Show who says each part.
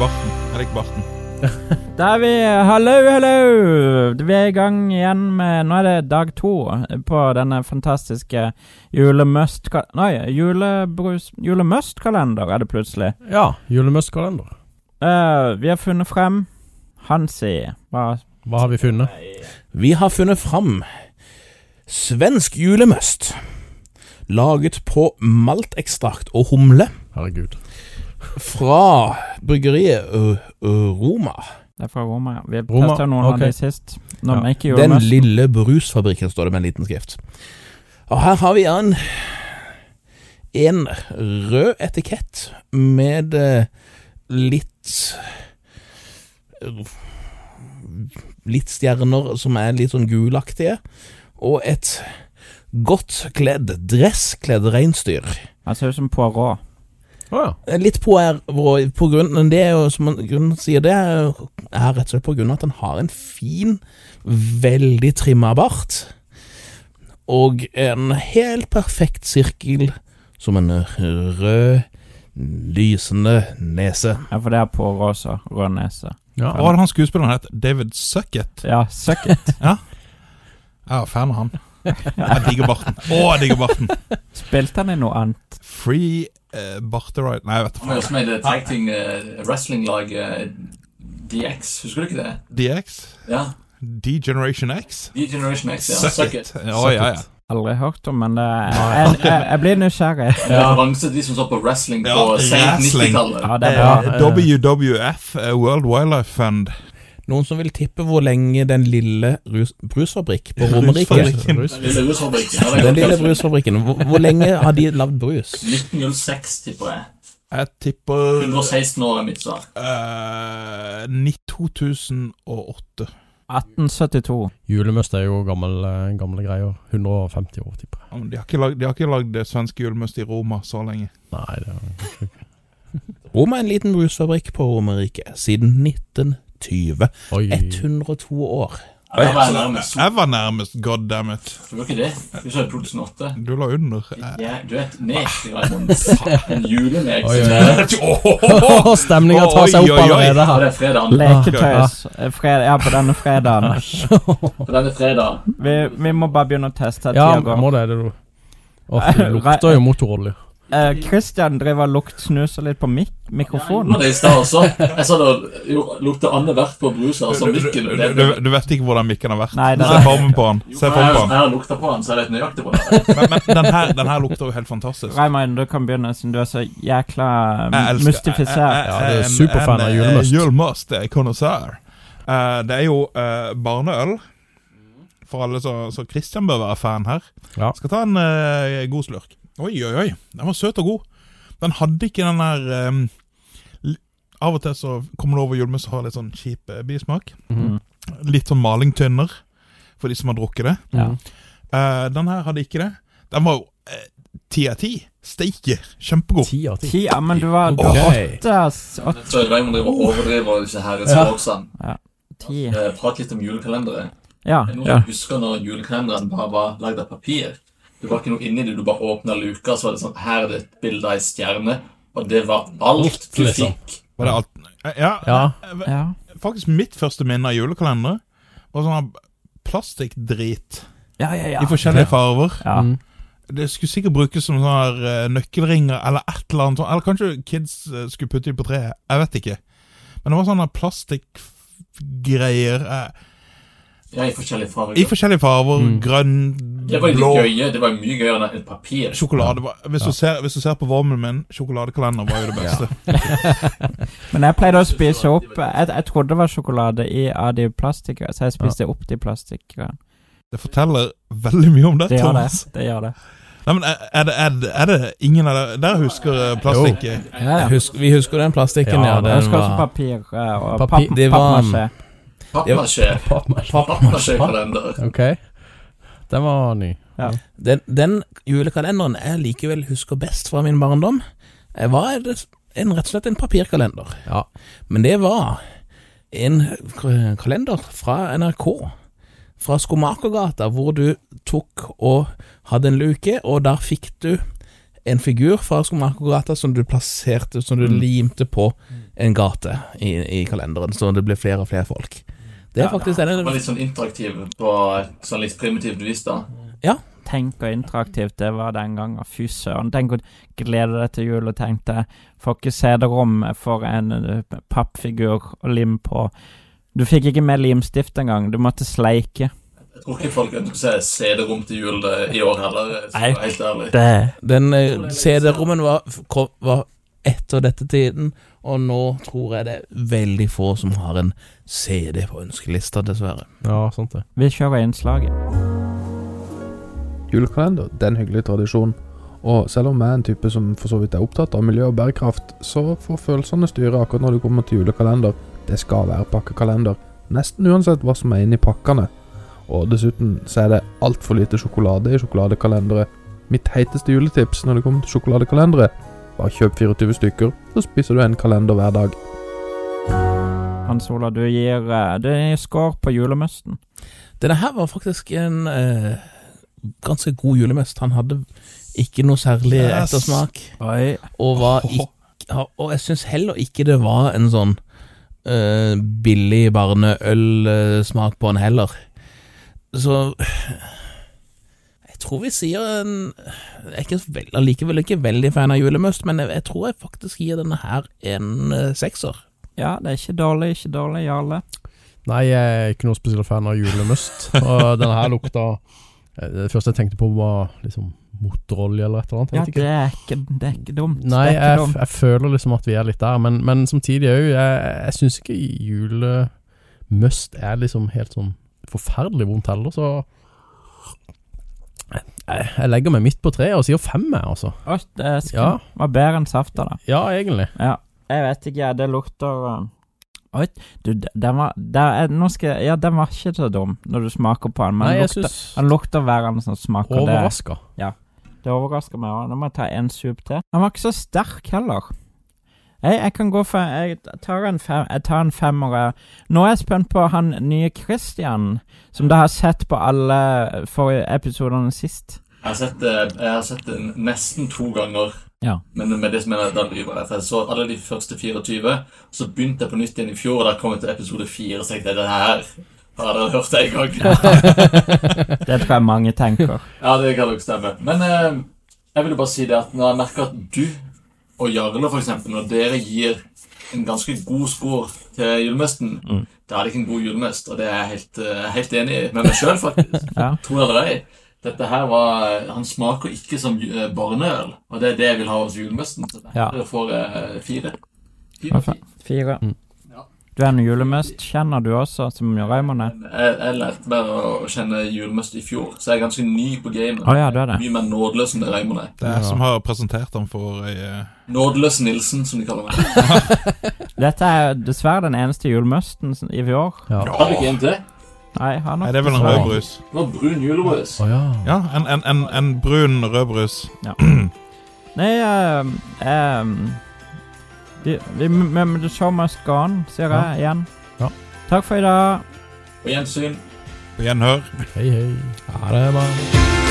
Speaker 1: Barten. Jeg liker barten.
Speaker 2: Da er vi Hallo, hallo! Vi er i gang igjen med Nå er det dag to på denne fantastiske julemust... Nei, julebrus... Julemustkalender er det plutselig.
Speaker 3: Ja, julemustkalender.
Speaker 2: Eh, vi har funnet frem Hansi. Hva
Speaker 3: Hva har vi funnet?
Speaker 4: Vi har funnet fram svensk julemust. Laget på maltekstrakt og humle
Speaker 3: Herregud.
Speaker 4: fra bryggeriet Ø- Ø- Roma.
Speaker 2: Det er fra Roma. ja. Vi
Speaker 3: Roma,
Speaker 2: testa noen
Speaker 3: ok.
Speaker 2: av de sist. Når
Speaker 3: Ja.
Speaker 2: vi ikke
Speaker 4: Den
Speaker 2: julemust.
Speaker 4: lille brusfabrikken, står det med en liten skrift. Og her har vi en En rød etikett med eh, litt Litt stjerner som er litt sånn gulaktige, og et godt kledd, dresskledd reinsdyr.
Speaker 2: Han ser ut som Poirot.
Speaker 3: Å ja.
Speaker 4: Eh, Litt på, er, på grunnen Det er jo som han- grunnen sier det, er, jo- er rett og slett på grunn av at han har en fin, veldig trimma bart. Og en helt perfekt sirkel som en rød, lysende nese.
Speaker 2: Ja, for det er Poirot også. Rød nese.
Speaker 3: ja.
Speaker 1: Hva hadde han skuespilleren het? David Sucket?
Speaker 2: Ja, suck it.
Speaker 1: Jeg er fan av han. Jeg digger barten. Å, jeg digger barten.
Speaker 2: Spilte han i noe annet?
Speaker 1: Free uh, barteride Nei, jeg vet
Speaker 5: Han har jo
Speaker 1: ikke.
Speaker 5: også med i det tag team eh, wrestling-lag eh, DX, husker du ikke det?
Speaker 1: DX?
Speaker 5: Ja,
Speaker 1: D-Generation X?
Speaker 5: D-Generation X, ja.
Speaker 1: Suck it. Ja, ja, ja.
Speaker 2: Aldri hørt om, men det jeg, jeg, jeg blir nysgjerrig.
Speaker 5: Det er referanse til de som så på wrestling på
Speaker 1: Ja,
Speaker 5: sent
Speaker 1: wrestling.
Speaker 5: 90-tallet.
Speaker 2: Ja, det er bra.
Speaker 3: Ja.
Speaker 1: Eh, WWF, eh, World Wildlife Fund.
Speaker 4: Noen som vil tippe hvor lenge den lille rus, brusfabrikk på Romerike
Speaker 1: Brusfabrikk.
Speaker 3: Brus.
Speaker 5: Den lille rusfabrikken. ja,
Speaker 4: Den
Speaker 5: det er godt
Speaker 4: lille
Speaker 5: kanskje.
Speaker 4: brusfabrikken, hvor, hvor lenge har de lagd brus?
Speaker 5: 1906, tipper jeg.
Speaker 1: Jeg tipper
Speaker 5: 116 år er mitt svar.
Speaker 1: eh, 2008.
Speaker 2: 1872.
Speaker 3: Julemust er jo gammel, eh, gamle greier. 150 år, tipper jeg.
Speaker 1: Ja, men De har ikke lagd- de har ikke lagd det svenske julemust i Roma så lenge.
Speaker 3: Nei, det er
Speaker 4: Roma er en liten brusfabrikk på Romerike siden 1920.
Speaker 3: Oi.
Speaker 4: 102 år.
Speaker 5: Ja, det var jeg nærmest.
Speaker 1: Jeg var nærmest, god damn it.
Speaker 5: Du var ikke det? Du sa 2008.
Speaker 1: Du la under. Eh,
Speaker 5: Ja, du er et nek, Raymond. En julenek.
Speaker 3: Oi,
Speaker 5: som
Speaker 3: oi,
Speaker 5: er-
Speaker 3: Stemninga tar seg
Speaker 1: Oi, oi,
Speaker 3: opp
Speaker 1: oi.
Speaker 3: allerede
Speaker 5: Ja,
Speaker 3: her.
Speaker 5: det er fredagen.
Speaker 2: Leketøys. Eh, Fred, ja, på denne fredagen.
Speaker 5: På denne fredagen.
Speaker 2: Vi, vi må bare begynne å teste. at
Speaker 3: Ja,
Speaker 2: tida går.
Speaker 3: må det, er det du. Åh, det lukter jo motorolje.
Speaker 2: Eh, Christian driver og luktsnuser litt på mik mikrofonen.
Speaker 5: Gjorde det i stad også. Jeg sa det jo, lukta andevert på bruser, altså
Speaker 1: Du,
Speaker 5: mikken.
Speaker 1: du,
Speaker 5: det-
Speaker 1: du, du vet ikke hvordan mikken har vært.
Speaker 2: Nei, det
Speaker 1: Se
Speaker 2: er-
Speaker 1: formen på han.
Speaker 5: Jo,
Speaker 1: Se
Speaker 5: men
Speaker 1: formen
Speaker 5: jeg,
Speaker 1: på
Speaker 5: jeg
Speaker 1: han.
Speaker 5: har lukta på han, så jeg vet nøyaktig på det.
Speaker 1: Men, men den, her, den her lukter jo helt fantastisk.
Speaker 2: Raymond, du kan begynne, siden du er så jækla mm,
Speaker 1: Jeg elsker-
Speaker 2: mystifisert.
Speaker 3: Ja, det er
Speaker 1: en-
Speaker 3: superfan av
Speaker 1: en, eh,
Speaker 3: julemust.
Speaker 1: Julemust er connoisseur. Eh, det er jo eh, barneøl. For alle så, så Christian bør være fan her.
Speaker 3: Ja.
Speaker 1: Skal ta en eh, god slurk. Oi, oi, oi. Den var søt og god. Den hadde ikke den der eh, l- Av og til så kommer det over julemust og har litt sånn kjip eh, bismak.
Speaker 3: Mhm.
Speaker 1: Litt sånn malingtynner for de som har drukket det.
Speaker 2: Ja.
Speaker 1: Eh, den her hadde ikke det. Den var jo eh, ti av ti. Steike. Kjempegod.
Speaker 3: Ti av ti.
Speaker 2: Ti, ja, men du var du var
Speaker 3: Ok.
Speaker 2: åtte, ass. Åtte,
Speaker 5: Jeg tror Raymond driver og overdriver disse her språksene.
Speaker 2: ti.
Speaker 5: Eh, Prat litt om julekalendere.
Speaker 2: Ja.
Speaker 5: Jeg ja. husker når julekalenderen bare var lagd av papir. Det var ikke noe inni det, du bare åpna luka, så var det sånn Her er det et bilde av ei stjerne. Og det var alt
Speaker 3: Alt,
Speaker 5: du
Speaker 3: liksom.
Speaker 5: fikk.
Speaker 1: Var det alt? Ja,
Speaker 3: Ja.
Speaker 1: eh,
Speaker 2: ja.
Speaker 1: Faktisk mitt første minne av julekalendere var sånn her plastikkdrit
Speaker 2: Ja, ja, ja.
Speaker 1: i forskjellige farver.
Speaker 2: Ja.
Speaker 3: Mm.
Speaker 1: Det skulle sikkert brukes som sånne her eh, nøkkelringer eller et eller annet sånt. Eller kanskje kids eh, skulle putte dem på treet. Jeg vet ikke. Men det var sånne plastikkgreier eh,
Speaker 5: Ja, i forskjellige
Speaker 1: i
Speaker 5: farger.
Speaker 1: forskjellige farver.
Speaker 3: Mm.
Speaker 1: Grønn,
Speaker 5: Det var jo
Speaker 1: blå
Speaker 5: litt gøye. Det var jo mye gøyere enn et papir.
Speaker 1: Sjokolade var, hvis, du ser, hvis du ser på vormen min, sjokoladekalender var jo det beste.
Speaker 2: Men jeg pleide å spise opp Jeg, jeg trodde det var sjokolade i av de plastikkene, så jeg spiste opp de plastikkene.
Speaker 1: Det forteller veldig mye om det,
Speaker 2: Det gjør det.
Speaker 1: Thomas.
Speaker 2: Det gjør det.
Speaker 1: Nei, men er- er det, er det, er det ingen av dere Dere husker eh, plastikk? eh?
Speaker 2: Ja, ja.
Speaker 4: Husk, vi husker den plastikken, ja.
Speaker 3: Ja,
Speaker 4: den
Speaker 2: Jeg husker også
Speaker 4: var,
Speaker 2: papir eh, og
Speaker 3: Papir-
Speaker 2: papp-
Speaker 4: det var-
Speaker 2: pappmasjé.
Speaker 5: Pappmasjé. Pappmasjé-kalender.
Speaker 3: Ok. Den var ny.
Speaker 4: den, den julekalenderen jeg likevel husker best fra min barndom, eh, var det- en, rett og slett en papirkalender.
Speaker 3: Ja.
Speaker 4: Men det var en k- kalender fra NRK, fra Skomakergata, hvor du tok og hadde en luke, og der fikk du en figur fra Skomakergata som du plasserte, som du limte på en gate i, i kalenderen, så det ble flere og flere folk. Det er faktisk
Speaker 5: Det var
Speaker 4: denne
Speaker 5: litt sånn interaktiv på sånn litt primitivt vis, da.
Speaker 2: Tenk hvor interaktivt det var den gangen. Fy søren. Tenk å glede deg til jul og tenkte Får ikke CD-rom for en eh, pappfigur å lim på. Du fikk ikke med limstift engang. Du måtte sleike.
Speaker 5: Jeg tror ikke folk ønsker seg CD-rom til jul eh, i år heller, så
Speaker 2: Nei.
Speaker 5: helt ærlig.
Speaker 2: Det
Speaker 4: Den eh, CD-rommen var, kom- var etter dette tiden, og nå tror jeg det er veldig få som har en CD på ønskelista, dessverre.
Speaker 3: Ja, sant det.
Speaker 2: Vi kjører innslaget.
Speaker 6: Julekalender det er en hyggelig tradisjon, og selv om jeg er en type som for så vidt er opptatt av miljø og bærekraft, så får følelsene styre akkurat når det kommer til julekalender. Det skal være pakkekalender, nesten uansett hva som er inni pakkene. Og dessuten så er det altfor lite sjokolade i sjokoladekalendere. Mitt heiteste juletips når det kommer til sjokoladekalendere, bare kjøp 24 stykker, så spiser du en kalender hver dag.
Speaker 2: Hans Ola, du gir eh, Du gir score på julemøsten.
Speaker 4: Denne her var faktisk en eh, ganske god julemest. Han hadde ikke noe særlig
Speaker 1: Yes.
Speaker 4: ettersmak,
Speaker 2: Oi.
Speaker 4: og, var ikk- ha- og jeg syns heller ikke det var en sånn eh, billig barneølsmak på den heller. Så jeg tror vi sier en Jeg er ikke så veld, allikevel ikke veldig fan av julemøst, men jeg, jeg tror jeg faktisk gir denne her en eh, sekser.
Speaker 2: Ja, det er ikke dårlig, ikke dårlig, Jarle.
Speaker 3: Nei, jeg er ikke noe spesiell fan av julemust. Og denne her lukta Det første jeg tenkte på, var liksom motorolje eller et eller annet.
Speaker 2: Ja,
Speaker 3: Jeg vet
Speaker 2: det
Speaker 3: ikke.
Speaker 2: er ikke, det er ikke dumt.
Speaker 3: Nei,
Speaker 2: det er ikke
Speaker 3: jeg,
Speaker 2: dumt.
Speaker 3: jeg føler liksom at vi er litt der, men, men samtidig òg. Jeg, jeg syns ikke julemust er liksom helt sånn forferdelig vondt heller, så jeg, jeg legger meg midt på treet og sier fem, jeg, altså.
Speaker 2: Oi, det er sk-
Speaker 3: Ja,
Speaker 2: var bedre enn safta, da.
Speaker 3: ja egentlig.
Speaker 2: Ja. Jeg vet ikke, jeg. Det lukter uh, Oi, du, d- den var der er, nå skal, jeg- Ja, den var ikke så dum når du smaker på den, men
Speaker 3: Nei,
Speaker 2: den
Speaker 3: jeg
Speaker 2: lukter,
Speaker 3: syns
Speaker 2: den lukter verre enn som smaker. Det,
Speaker 3: Overraska.
Speaker 2: det overrasker meg også. Nå må jeg ta en sup til. Den var ikke så sterk heller. Jeg, jeg kan gå for Jeg tar en, fem, jeg tar en femmer. jeg. Nå er jeg spent på han nye Christian, som du har sett på alle eh, forrige episodene sist.
Speaker 5: Jeg har sett, eh, jeg har sett den nesten to ganger,
Speaker 2: Ja.
Speaker 5: men med det som mener jeg, da lyver jeg. For jeg så alle de første 24, og så begynte jeg på nytt igjen i fjor, og da kom jeg til episode 4, og så tenkte jeg det her har dere hørt det en gang.
Speaker 2: Det tror jeg mange tenker.
Speaker 5: Ja, det kan nok stemme. Men eh, jeg ville bare si det at når jeg merker at du og Jarle, for eksempel, når dere gir en ganske god score til julemesten,
Speaker 2: Mm.
Speaker 5: da er det ikke en god julemest, og det er jeg helt, eh, helt enig i med meg sjøl, faktisk.
Speaker 2: Ja.
Speaker 5: Tro det eller ei. Dette her var Han smaker ikke som ju- eh, barneøl, og det er det jeg vil ha hos julemesten. Så
Speaker 2: Ja.
Speaker 5: dere får eh, fire.
Speaker 2: Hva fa-
Speaker 5: Fire, fire.
Speaker 2: Fire.
Speaker 3: Mm.
Speaker 5: Ja.
Speaker 2: Du er en julemøst, kjenner du også, som Raymond er.
Speaker 5: Jeg, jeg lærte meg å kjenne julemest i fjor, så jeg er ganske ny på gamet.
Speaker 2: Å ja, du er det.
Speaker 5: Mye mer nådeløs enn det Raymond er.
Speaker 1: Det er jeg
Speaker 3: Ja.
Speaker 1: som har presentert han for ei eh,
Speaker 5: Nådeløs Nilsen, som de kaller meg.
Speaker 2: Dette er dessverre den eneste julemøsten som- i år.
Speaker 3: Ja.
Speaker 5: Har du ikke en til?
Speaker 2: Nei, han
Speaker 1: Nei,
Speaker 2: har
Speaker 1: det er vel en
Speaker 3: Nei.
Speaker 1: rødbrus.
Speaker 5: Det var brun julebrus.
Speaker 3: Å ja.
Speaker 1: Ja, en, en, en, en brun rødbrus.
Speaker 2: Nei, ehm, ehm, vi- vi- Men the show must go on, sier jeg igjen.
Speaker 3: Ja.
Speaker 2: Takk for i dag.
Speaker 5: På gjensyn.
Speaker 1: På gjenhør.
Speaker 3: Hei, hei.
Speaker 4: Ja, det var